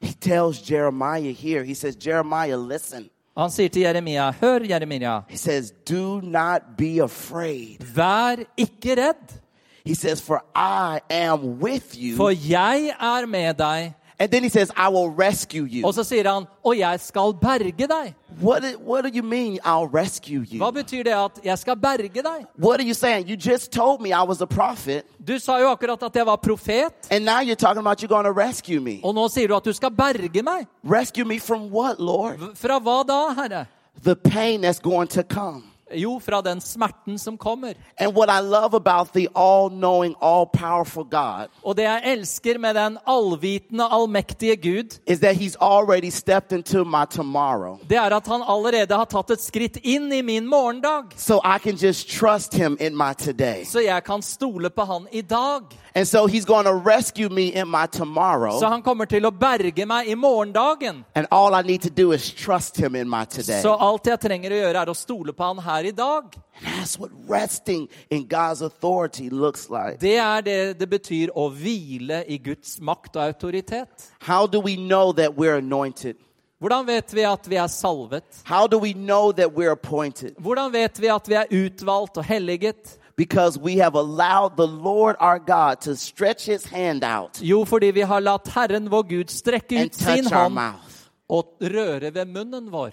Speaker 2: He tells Jeremiah here, he says, Jeremiah, listen.
Speaker 3: Og han sier til Jeremia, hør Jeremia,
Speaker 2: He says, do not be afraid.
Speaker 3: vær ikke redd,
Speaker 2: He says, for I am with you.
Speaker 3: for jeg er med deg.
Speaker 2: And then he says, I will rescue you.
Speaker 3: Og så sier han, og jeg skal berge deg.
Speaker 2: What, do- what do you mean, I'll rescue you?
Speaker 3: Hva betyr det at jeg skal berge deg?
Speaker 2: What are you saying? You just told me I was a prophet,
Speaker 3: Du sa jo akkurat at jeg var profet,
Speaker 2: and now you're talking about you're going to rescue me.
Speaker 3: og nå sier du at du skal berge meg.
Speaker 2: Rescue me from what, Lord?
Speaker 3: Fra hva da, Herre?
Speaker 2: The pain that's going to come.
Speaker 3: Jo, fra den smerten som kommer.
Speaker 2: And what I love about the all knowing, all powerful God
Speaker 3: Og det jeg elsker med den allvitende, allmektige Gud,
Speaker 2: is that He's already stepped into my tomorrow.
Speaker 3: det er at han allerede har tatt et skritt inn i min morgendag.
Speaker 2: So I can just trust Him in my today.
Speaker 3: Så jeg kan stole på han i dag.
Speaker 2: And so He's going to rescue me in my
Speaker 3: Så
Speaker 2: tomorrow.
Speaker 3: han kommer til å berge meg i morgendagen.
Speaker 2: And all I need to do is trust Him in my today.
Speaker 3: Så alt jeg trenger å gjøre, er å stole på han her i dag.
Speaker 2: That's what resting in God's authority looks like.
Speaker 3: Det er det det betyr å hvile i Guds makt og autoritet.
Speaker 2: How do we know that we're anointed?
Speaker 3: Hvordan vet vi at vi er salvet?
Speaker 2: How do we know that we're appointed?
Speaker 3: Hvordan vet vi at vi er utvalgt og helliget?
Speaker 2: Because we have allowed the Lord our God to stretch his hand out
Speaker 3: Jo, fordi vi har latt Herren vår Gud strekke
Speaker 2: and
Speaker 3: ut sin
Speaker 2: touch our
Speaker 3: hånd
Speaker 2: mouth.
Speaker 3: og røre ved munnen vår.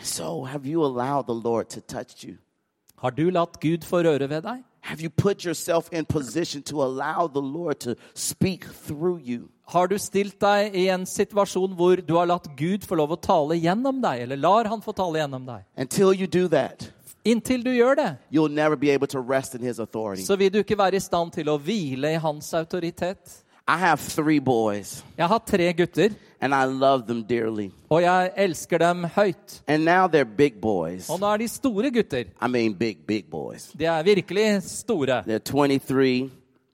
Speaker 2: So, have you allowed the Lord to touch you?
Speaker 3: Har du latt Gud få røre ved deg?
Speaker 2: Have you put yourself in position to allow the Lord to speak through you?
Speaker 3: Har du stilt deg i en situasjon hvor du har latt Gud få lov å tale gjennom deg, eller lar han få tale gjennom deg?
Speaker 2: Until you do that,
Speaker 3: Inntil du gjør det,
Speaker 2: you'll never be able to rest in his authority.
Speaker 3: så vil du ikke være i stand til å hvile i hans autoritet.
Speaker 2: I have three boys,
Speaker 3: Jeg har tre gutter,
Speaker 2: and I love them dearly.
Speaker 3: og jeg elsker dem høyt.
Speaker 2: And now they're big boys.
Speaker 3: Og nå er de store gutter.
Speaker 2: I mean, big, big boys.
Speaker 3: De er virkelig store.
Speaker 2: They're 23,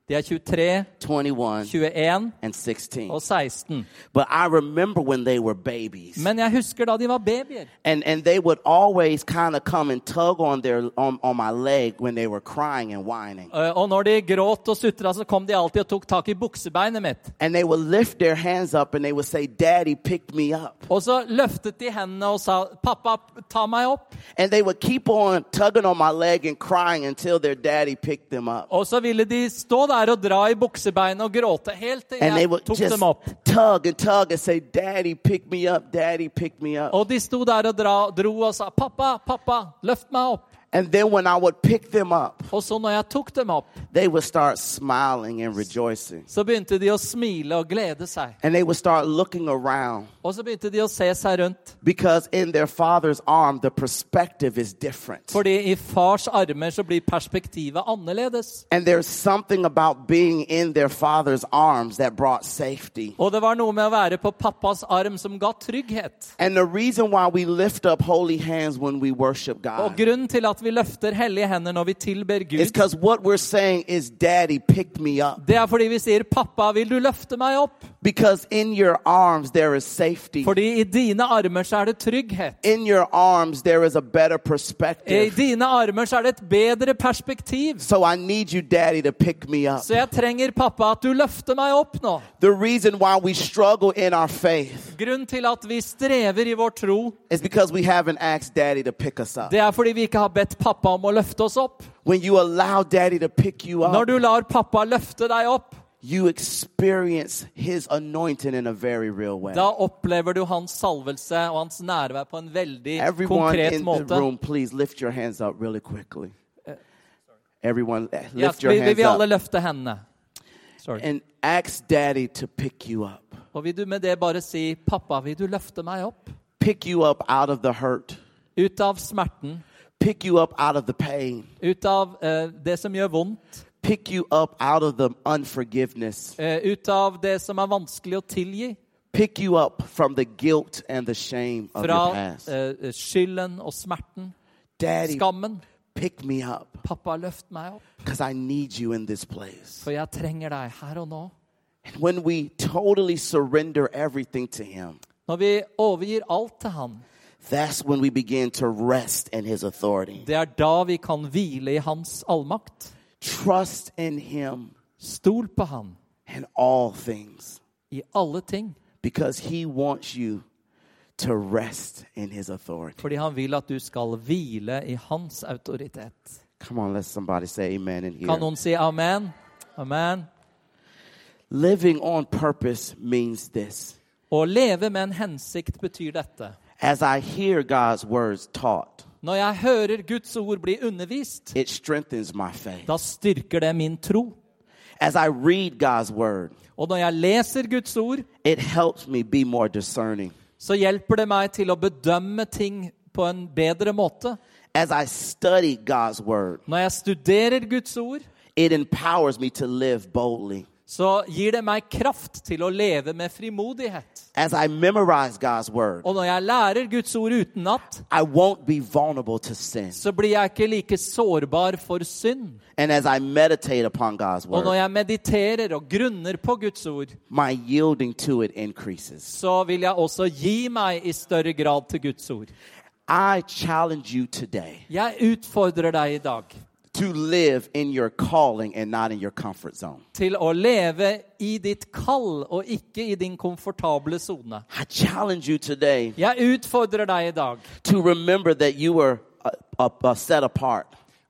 Speaker 3: De er 23,
Speaker 2: 21,
Speaker 3: 21
Speaker 2: and 16.
Speaker 3: og 16.
Speaker 2: But I remember when they were babies.
Speaker 3: Men jeg husker da de var babyer.
Speaker 2: And and they would always kind of come and tug on their on, on my leg when they were crying and whining.
Speaker 3: Eh, Og når de gråt og sutra, så kom de alltid og tok tak i buksebeinet mitt.
Speaker 2: And they would lift their hands up and they would say, "Daddy picked me up." up.
Speaker 3: Og så løftet de hendene og sa, 'Pappa, ta meg opp.'
Speaker 2: And they would keep on tugging on my leg and crying until their daddy picked them up.
Speaker 3: Og så ville de stå der og dra i buksebeinet og gråte helt til
Speaker 2: And they
Speaker 3: jeg
Speaker 2: would
Speaker 3: tok
Speaker 2: just
Speaker 3: dem opp.
Speaker 2: tug and tug and say, Daddy, pick me up, Daddy, pick me up.
Speaker 3: Og de sto der og dra, dro og sa, 'Pappa, pappa, løft meg opp.'
Speaker 2: And then when I would pick them up,
Speaker 3: Og så når jeg tok dem opp,
Speaker 2: they would start smiling and rejoicing.
Speaker 3: så begynte de å smile og glede seg.
Speaker 2: And they would start looking around
Speaker 3: Og så begynte de å se seg rundt.
Speaker 2: because in their father's arm, the perspective is different.
Speaker 3: Fordi i fars armer så blir perspektivet annerledes.
Speaker 2: And there's something about being in their father's arms that brought safety.
Speaker 3: Og det var noe med å være på pappas arm som ga trygghet.
Speaker 2: And the reason why we lift up holy hands when we worship
Speaker 3: Og
Speaker 2: God
Speaker 3: grunnen til at vi løfter hellige hender når vi tilber
Speaker 2: is
Speaker 3: Gud,
Speaker 2: because what we're saying is, Daddy, pick me up.
Speaker 3: det er fordi vi sier 'Pappa, vil du løfte meg opp?'
Speaker 2: Because in your arms, there is safety.
Speaker 3: Fordi i dine armer så er det trygghet.
Speaker 2: in your arms there is a better
Speaker 3: I
Speaker 2: perspective.
Speaker 3: dine armer så er det et bedre perspektiv.
Speaker 2: So I need you, Daddy, to pick me up.
Speaker 3: Så jeg trenger, pappa, at du løfter meg opp nå.
Speaker 2: The reason why we struggle in our faith
Speaker 3: Grunnen til at vi strever i vår tro,
Speaker 2: is because we haven't asked Daddy to pick us up.
Speaker 3: det er fordi vi ikke har bedt pappa om å løfte oss opp.
Speaker 2: When you allow Daddy to pick you
Speaker 3: Når
Speaker 2: up,
Speaker 3: du lar pappa løfte deg opp,
Speaker 2: you experience His anointing in a very real way.
Speaker 3: da opplever du hans salvelse og hans nærvær på en veldig
Speaker 2: Everyone
Speaker 3: konkret
Speaker 2: in the
Speaker 3: måte.
Speaker 2: room, please lift your hands up really quickly. Everyone, eh,
Speaker 3: Ja,
Speaker 2: lift your
Speaker 3: vi, vi
Speaker 2: hands
Speaker 3: vil alle
Speaker 2: up
Speaker 3: løfte hendene. Sorry.
Speaker 2: and ask Daddy to pick you up.
Speaker 3: Og vil du med det bare si, 'Pappa, vil du løfte meg opp?'
Speaker 2: Pick you up out of the hurt.
Speaker 3: Ut av smerten,
Speaker 2: Pick you up out of the pain.
Speaker 3: ut av eh, det som gjør vondt,
Speaker 2: pick you up out of the unforgiveness,
Speaker 3: eh, ut av det som er vanskelig å tilgi,
Speaker 2: pick you up from the guilt and the shame of
Speaker 3: fra
Speaker 2: your past.
Speaker 3: eh, skylden og smerten,
Speaker 2: Daddy,
Speaker 3: skammen.
Speaker 2: pick me up
Speaker 3: Pappa, løft meg opp,
Speaker 2: because I need you in this place.
Speaker 3: for jeg trenger deg her og nå.
Speaker 2: And when we totally surrender everything to Him,
Speaker 3: Når vi overgir alt til Han,
Speaker 2: that's when we begin to rest in His authority.
Speaker 3: det er da vi kan hvile i Hans allmakt.
Speaker 2: Trust in Him
Speaker 3: Stol på Han
Speaker 2: in all things
Speaker 3: i alle ting,
Speaker 2: because He wants you to rest in His authority.
Speaker 3: fordi Han vil at du skal hvile i Hans autoritet.
Speaker 2: Come on, let somebody say amen in here.
Speaker 3: Kan noen si amen? Amen.
Speaker 2: Living on purpose means this.
Speaker 3: Å leve med en hensikt betyr dette.
Speaker 2: As I hear God's words taught,
Speaker 3: Når jeg hører Guds ord bli undervist,
Speaker 2: it strengthens my faith.
Speaker 3: da styrker det min tro.
Speaker 2: As I read God's word,
Speaker 3: Og når jeg leser Guds ord,
Speaker 2: it helps me be more discerning.
Speaker 3: så hjelper det meg til å bedømme ting på en bedre måte.
Speaker 2: As I study God's word,
Speaker 3: Når jeg studerer Guds ord,
Speaker 2: it empowers me to live boldly.
Speaker 3: så gir det meg kraft til å leve med frimodighet.
Speaker 2: As I memorize God's word,
Speaker 3: Og når jeg lærer Guds ord utenat,
Speaker 2: I won't be vulnerable to sin.
Speaker 3: så blir jeg ikke like sårbar for synd.
Speaker 2: And as I meditate upon God's
Speaker 3: Og når
Speaker 2: word,
Speaker 3: jeg mediterer og grunner på Guds ord,
Speaker 2: my yielding to it increases.
Speaker 3: så vil jeg også gi meg i større grad til Guds ord.
Speaker 2: I challenge you today
Speaker 3: Jeg utfordrer deg i dag
Speaker 2: to live in your calling and not in your comfort zone.
Speaker 3: til å leve i ditt kall og ikke i din komfortable sone.
Speaker 2: I challenge you today
Speaker 3: Jeg utfordrer deg i dag
Speaker 2: to remember that you were uh, uh, uh, set apart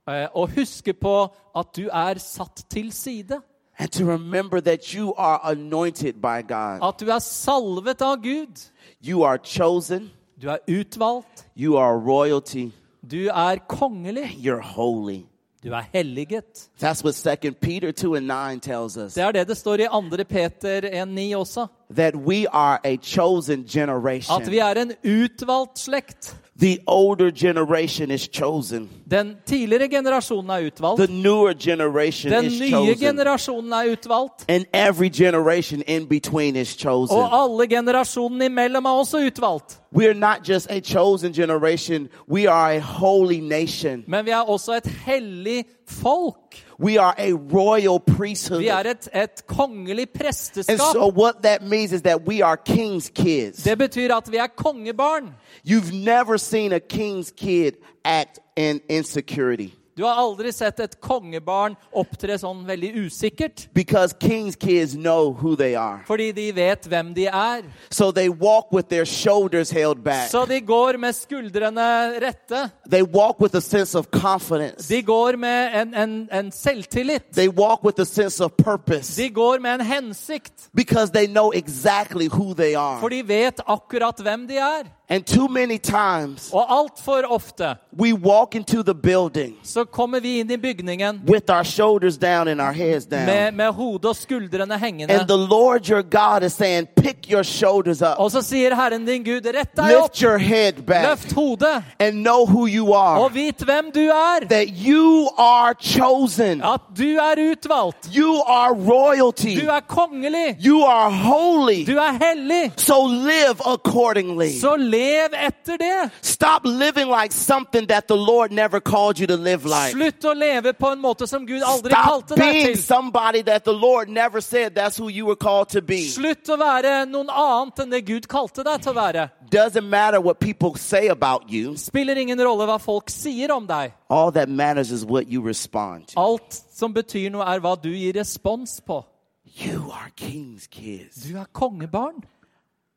Speaker 3: eh, å huske på at du er satt til side.
Speaker 2: and to remember that you are anointed by God.
Speaker 3: At du er salvet av Gud.
Speaker 2: You are chosen,
Speaker 3: Du er utvalgt.
Speaker 2: you are royalty,
Speaker 3: Du er kongelig.
Speaker 2: you're holy.
Speaker 3: Du er helliget.
Speaker 2: That's what 2 Peter 2 and 9 tells us
Speaker 3: Det er det det står i 2. Peter 1,9 også.
Speaker 2: that we are a chosen
Speaker 3: At vi
Speaker 2: generation.
Speaker 3: er en utvalgt slekt.
Speaker 2: The older generation is chosen,
Speaker 3: Den tidligere generasjonen er
Speaker 2: the
Speaker 3: utvalgt.
Speaker 2: newer generation
Speaker 3: Den
Speaker 2: is
Speaker 3: nye
Speaker 2: chosen,
Speaker 3: generasjonen er utvalgt.
Speaker 2: and every generation in between is chosen.
Speaker 3: Og alle generasjonene imellom er også utvalgt.
Speaker 2: We're not just a chosen generation, we are a holy nation.
Speaker 3: Men vi er også et hellig folk.
Speaker 2: We are a royal priesthood.
Speaker 3: Vi er et, et kongelig
Speaker 2: and
Speaker 3: presteskap.
Speaker 2: so what that means is that we are king's kids.
Speaker 3: Det betyr at vi er kongebarn.
Speaker 2: You've never seen a king's kid act in insecurity.
Speaker 3: Du har aldri sett et kongebarn opptre sånn veldig usikkert.
Speaker 2: because king's kids know who they are.
Speaker 3: Fordi de vet hvem de er.
Speaker 2: So they walk with their shoulders held back.
Speaker 3: Så de går med skuldrene rette.
Speaker 2: They walk with a sense of confidence.
Speaker 3: De går med en, en, en selvtillit.
Speaker 2: They walk with a sense of purpose
Speaker 3: De går med en hensikt.
Speaker 2: because they know exactly who they are.
Speaker 3: For de vet akkurat hvem de er.
Speaker 2: And too many times
Speaker 3: Og altfor ofte
Speaker 2: we walk into the building
Speaker 3: så kommer vi inn i bygningen
Speaker 2: with our shoulders down and our heads down.
Speaker 3: med, med hodet og skuldrene hengende.
Speaker 2: And the Lord your God is saying, pick your shoulders up,
Speaker 3: Og så sier Herren din Gud, rett deg opp,
Speaker 2: lift your head back,
Speaker 3: løft hodet,
Speaker 2: and know who you
Speaker 3: og
Speaker 2: are.
Speaker 3: vit hvem du er.
Speaker 2: That you are chosen.
Speaker 3: At du er utvalgt.
Speaker 2: You are royalty.
Speaker 3: Du er kongelig.
Speaker 2: You are holy.
Speaker 3: Du er hellig.
Speaker 2: So live accordingly.
Speaker 3: Så lev etter det.
Speaker 2: Stop living like something that the Lord never called you to live like.
Speaker 3: Slutt å leve på en måte som Gud aldri
Speaker 2: Stop
Speaker 3: kalte deg
Speaker 2: being
Speaker 3: til.
Speaker 2: somebody that the Lord never said that's who you were called to be.
Speaker 3: Slutt å være noen annet enn det Gud kalte deg til å være.
Speaker 2: Doesn't matter what people say about you.
Speaker 3: Spiller ingen rolle hva folk sier om deg.
Speaker 2: All that matters is what you respond to.
Speaker 3: Alt som betyr noe, er hva du gir respons på.
Speaker 2: You are king's kids.
Speaker 3: Du er kongebarn.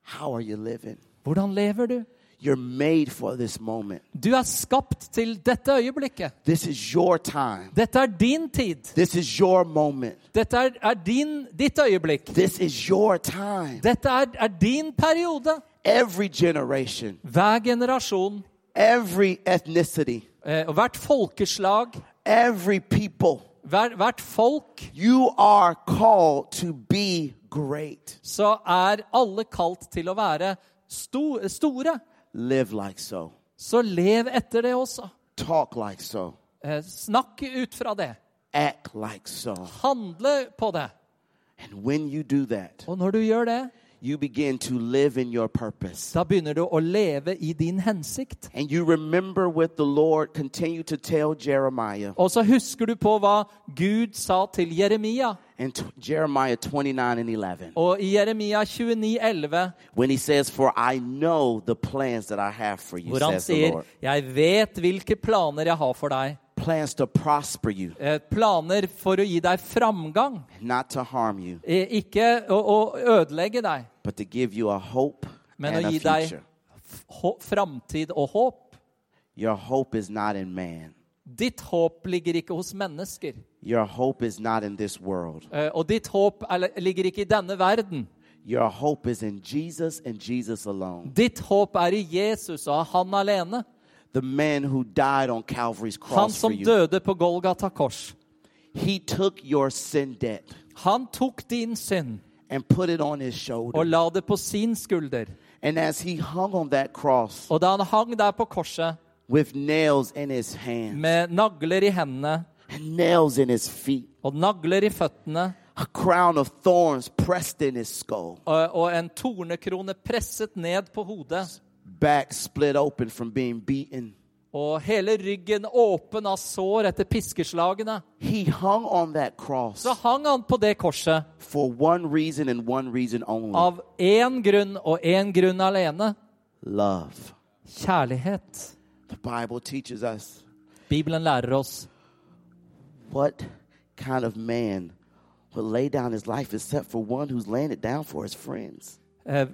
Speaker 2: How are you living?
Speaker 3: Hvordan lever du?
Speaker 2: You're made for this moment.
Speaker 3: Du er skapt til dette øyeblikket.
Speaker 2: This is your time.
Speaker 3: Dette er din tid.
Speaker 2: This is your moment.
Speaker 3: Dette er, er din, ditt øyeblikk.
Speaker 2: This is your time.
Speaker 3: Dette er, er din periode.
Speaker 2: Every generation,
Speaker 3: Hver generasjon
Speaker 2: every ethnicity,
Speaker 3: eh, og hvert folkeslag,
Speaker 2: every people,
Speaker 3: hver, hvert folk,
Speaker 2: you are called to be great.
Speaker 3: så er alle kalt til å være sto, store.
Speaker 2: Live like so.
Speaker 3: Så lev etter det også.
Speaker 2: Talk like so.
Speaker 3: Eh, snakk ut fra det.
Speaker 2: Act like so.
Speaker 3: Handle på det.
Speaker 2: And when you do that,
Speaker 3: Og når du gjør det,
Speaker 2: you begin to live in your purpose.
Speaker 3: da begynner du å leve i din hensikt.
Speaker 2: And you remember what the Lord continued to tell Jeremiah
Speaker 3: Og så husker du på hva Gud sa til Jeremia.
Speaker 2: in t- Jeremiah 29 and 11
Speaker 3: Og i Jeremia 29, 11,
Speaker 2: when he says, For I know the plans that I have for you,
Speaker 3: hvor han
Speaker 2: says the
Speaker 3: sier
Speaker 2: Lord.
Speaker 3: 'Jeg vet hvilke planer jeg har for deg'.
Speaker 2: Plans to prosper you,
Speaker 3: Eh, Planer for å gi deg framgang,
Speaker 2: not to harm you,
Speaker 3: eh, ikke å, å ødelegge deg,
Speaker 2: but to give you a hope
Speaker 3: men
Speaker 2: and
Speaker 3: å
Speaker 2: a
Speaker 3: gi deg
Speaker 2: future.
Speaker 3: f- hå- framtid og håp.
Speaker 2: Your hope is not in man.
Speaker 3: Ditt håp ligger ikke hos mennesker.
Speaker 2: Your hope is not in this world.
Speaker 3: Eh, Og ditt håp er, ligger ikke i denne verden.
Speaker 2: Your hope is in Jesus and Jesus alone.
Speaker 3: Ditt håp er i Jesus og han alene.
Speaker 2: The man who died on Calvary's
Speaker 3: Han
Speaker 2: cross for
Speaker 3: som
Speaker 2: you.
Speaker 3: døde på Golgata kors.
Speaker 2: He took your sin debt
Speaker 3: Han tok din synd
Speaker 2: and put it on his
Speaker 3: og
Speaker 2: shoulder.
Speaker 3: la det på sin skulder.
Speaker 2: And as he hung on that cross
Speaker 3: Og da han hang der på korset
Speaker 2: with nails in his hand,
Speaker 3: med nagler i hendene
Speaker 2: and nails in his feet,
Speaker 3: og nagler i føttene
Speaker 2: a crown of thorns pressed in his skull,
Speaker 3: og, eh, og en tornekrone presset ned på hodet
Speaker 2: back split open from being beaten,
Speaker 3: og hele ryggen åpen av sår etter piskeslagene,
Speaker 2: he hung on that cross
Speaker 3: så hang han på det korset
Speaker 2: for one reason and one reason only
Speaker 3: av én grunn og én grunn alene
Speaker 2: love.
Speaker 3: kjærlighet.
Speaker 2: The Bible teaches us
Speaker 3: Bibelen lærer oss
Speaker 2: What kind of man would lay down his life except for one who's laying it down for his friends?
Speaker 3: Eh,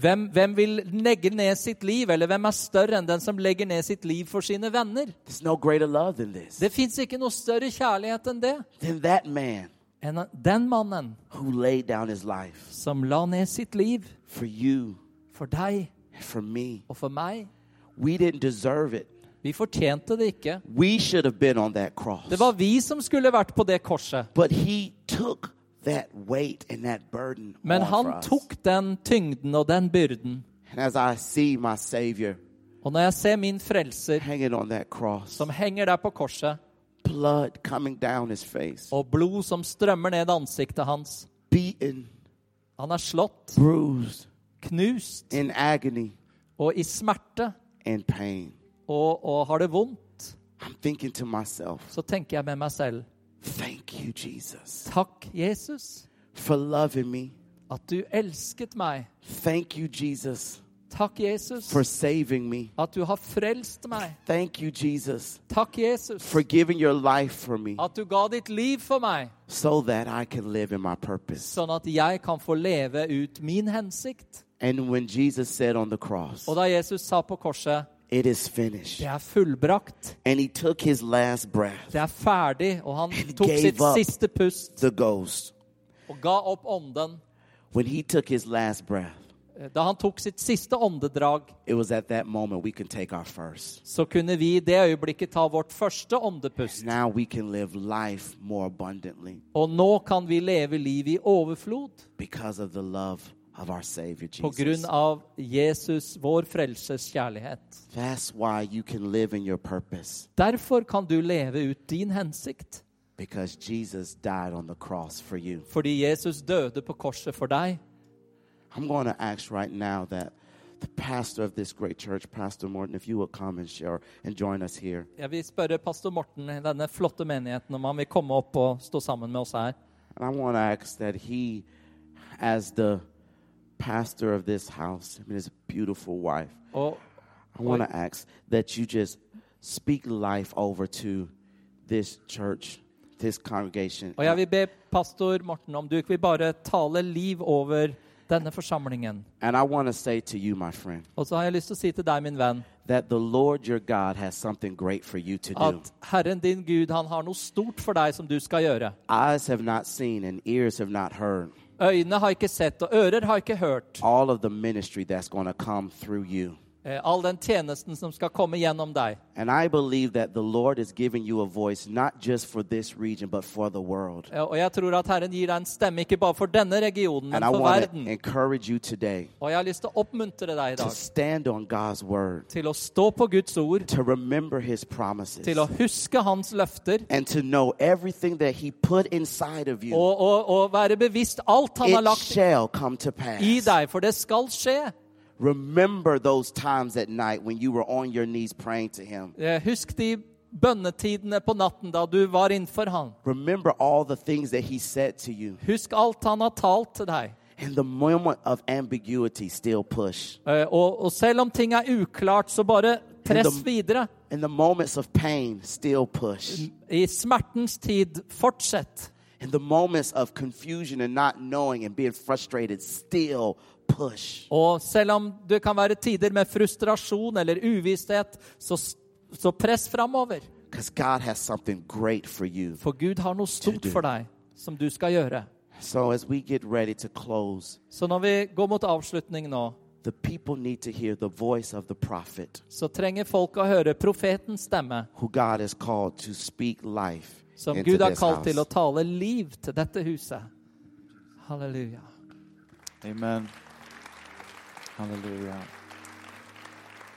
Speaker 3: hvem, hvem vil legge ned sitt liv, eller hvem er større enn den som legger ned sitt liv for sine venner?
Speaker 2: There's no greater love than this.
Speaker 3: Det fins ikke noe større kjærlighet enn det.
Speaker 2: Than that man
Speaker 3: Enn den mannen
Speaker 2: who laid down his life
Speaker 3: som la ned sitt liv
Speaker 2: for you
Speaker 3: for deg
Speaker 2: and for me.
Speaker 3: og for meg.
Speaker 2: We didn't deserve it.
Speaker 3: Vi fortjente det ikke.
Speaker 2: We should have been on that cross.
Speaker 3: Det var vi som skulle vært på det korset.
Speaker 2: But he took that weight and that burden.
Speaker 3: Men
Speaker 2: on for
Speaker 3: han
Speaker 2: us.
Speaker 3: tok den tyngden og den byrden.
Speaker 2: And as I see my Savior
Speaker 3: Og når jeg ser min frelser
Speaker 2: hanging on that cross,
Speaker 3: som henger der på korset,
Speaker 2: blood coming down his face,
Speaker 3: og blod som strømmer ned ansiktet hans
Speaker 2: beaten,
Speaker 3: Han er slått,
Speaker 2: bruised,
Speaker 3: knust
Speaker 2: in agony
Speaker 3: og i smerte.
Speaker 2: and pain.
Speaker 3: og, og har det vondt,
Speaker 2: I'm thinking to myself,
Speaker 3: så tenker jeg med meg selv
Speaker 2: thank you, Jesus,
Speaker 3: Takk, Jesus,
Speaker 2: for loving me.
Speaker 3: at du elsket meg.
Speaker 2: Thank you, Jesus,
Speaker 3: Takk, Jesus,
Speaker 2: for saving me.
Speaker 3: at du har frelst meg.
Speaker 2: Thank you, Jesus,
Speaker 3: Takk, Jesus,
Speaker 2: for giving your life for me
Speaker 3: at du ga ditt liv for meg,
Speaker 2: so that I can live in my purpose.
Speaker 3: sånn at jeg kan få leve ut min hensikt.
Speaker 2: And when Jesus said on the cross,
Speaker 3: Og da Jesus sa på korset,
Speaker 2: It is finished,
Speaker 3: det er fullbrakt,
Speaker 2: and he took his last breath,
Speaker 3: det er ferdig, og han tok
Speaker 2: gave
Speaker 3: sitt
Speaker 2: up.
Speaker 3: siste pust
Speaker 2: the ghost,
Speaker 3: og ga opp ånden.
Speaker 2: when he took his last breath,
Speaker 3: Eh, Da han tok sitt siste åndedrag,
Speaker 2: it was at that moment we can take our first.
Speaker 3: så kunne vi i det øyeblikket ta vårt første åndepust.
Speaker 2: Now we can live life more abundantly
Speaker 3: Og nå kan vi leve liv i overflod
Speaker 2: because of the love of our Savior
Speaker 3: på grunn
Speaker 2: Jesus.
Speaker 3: av Jesus, vår frelses kjærlighet.
Speaker 2: That's why you can live in your purpose
Speaker 3: Derfor kan du leve ut din hensikt,
Speaker 2: because Jesus died on the cross for you.
Speaker 3: fordi Jesus døde på korset for deg.
Speaker 2: I'm going to ask right now that the pastor of this great church, Pastor Morton, if you would come and share and join us here.
Speaker 3: Jeg vil spørre pastor Morten i denne flotte menigheten om han vil komme opp og stå sammen med oss her.
Speaker 2: And I want to ask that he, as the pastor of this house and his beautiful wife,
Speaker 3: Og
Speaker 2: I want to ask that you just speak life over to this church, this congregation.
Speaker 3: Og jeg vil be pastor Morten om du ikke vil bare tale liv over denne forsamlingen.
Speaker 2: And I want to say to you, my friend,
Speaker 3: Og så har jeg lyst til å si til deg, min venn,
Speaker 2: that the Lord your God has something great for you to do.
Speaker 3: at Herren din Gud, han har noe stort for deg som du skal gjøre.
Speaker 2: Eyes have not seen and ears have not heard
Speaker 3: Øyne har ikke sett, og ører har ikke hørt
Speaker 2: all of the ministry that's going to come through you.
Speaker 3: eh, all den tjenesten som skal komme gjennom deg.
Speaker 2: And I believe that the Lord is giving you a voice not just for this region, but for the world.
Speaker 3: Eh, Og jeg tror at Herren gir deg en stemme, ikke bare for denne regionen, men
Speaker 2: And I
Speaker 3: for
Speaker 2: want to
Speaker 3: verden.
Speaker 2: encourage you today
Speaker 3: Og jeg har lyst til å oppmuntre deg i
Speaker 2: to
Speaker 3: dag
Speaker 2: stand on God's word,
Speaker 3: til å stå på Guds ord,
Speaker 2: to remember his promises,
Speaker 3: til å huske hans løfter,
Speaker 2: and to know everything that he put inside of you.
Speaker 3: og, og, og være bevisst alt han har
Speaker 2: It
Speaker 3: lagt
Speaker 2: shall come to
Speaker 3: i
Speaker 2: pass.
Speaker 3: deg, for det skal skje.
Speaker 2: Remember those times at night when you were on your knees praying to him.
Speaker 3: Eh, Husk de bønnetidene på natten da du var innenfor han.
Speaker 2: Remember all the things that he said to you.
Speaker 3: Husk alt han har talt til deg.
Speaker 2: In the moment of ambiguity, still push.
Speaker 3: Eh, Og, og selv om ting er uklart, så bare press
Speaker 2: Kingdom.
Speaker 3: videre.
Speaker 2: In the moments of pain, still push.
Speaker 3: I smertens tid, fortsett.
Speaker 2: In the moments of confusion and not knowing and being frustrated, still push.
Speaker 3: Og selv om det kan være tider med frustrasjon eller uvisshet, så, så press framover.
Speaker 2: Because God has something great for you.
Speaker 3: For Gud har noe stort
Speaker 2: Tydelig.
Speaker 3: for deg som du skal gjøre.
Speaker 2: So as we get ready to close,
Speaker 3: Så når vi går mot avslutning nå,
Speaker 2: the people need to hear the voice of the prophet
Speaker 3: så trenger folk å høre profetens stemme,
Speaker 2: who God has called to speak life
Speaker 3: som
Speaker 2: into
Speaker 3: Gud har
Speaker 2: this
Speaker 3: kalt
Speaker 2: house.
Speaker 3: til å tale liv til dette huset. Halleluja.
Speaker 1: Amen. Halleluja.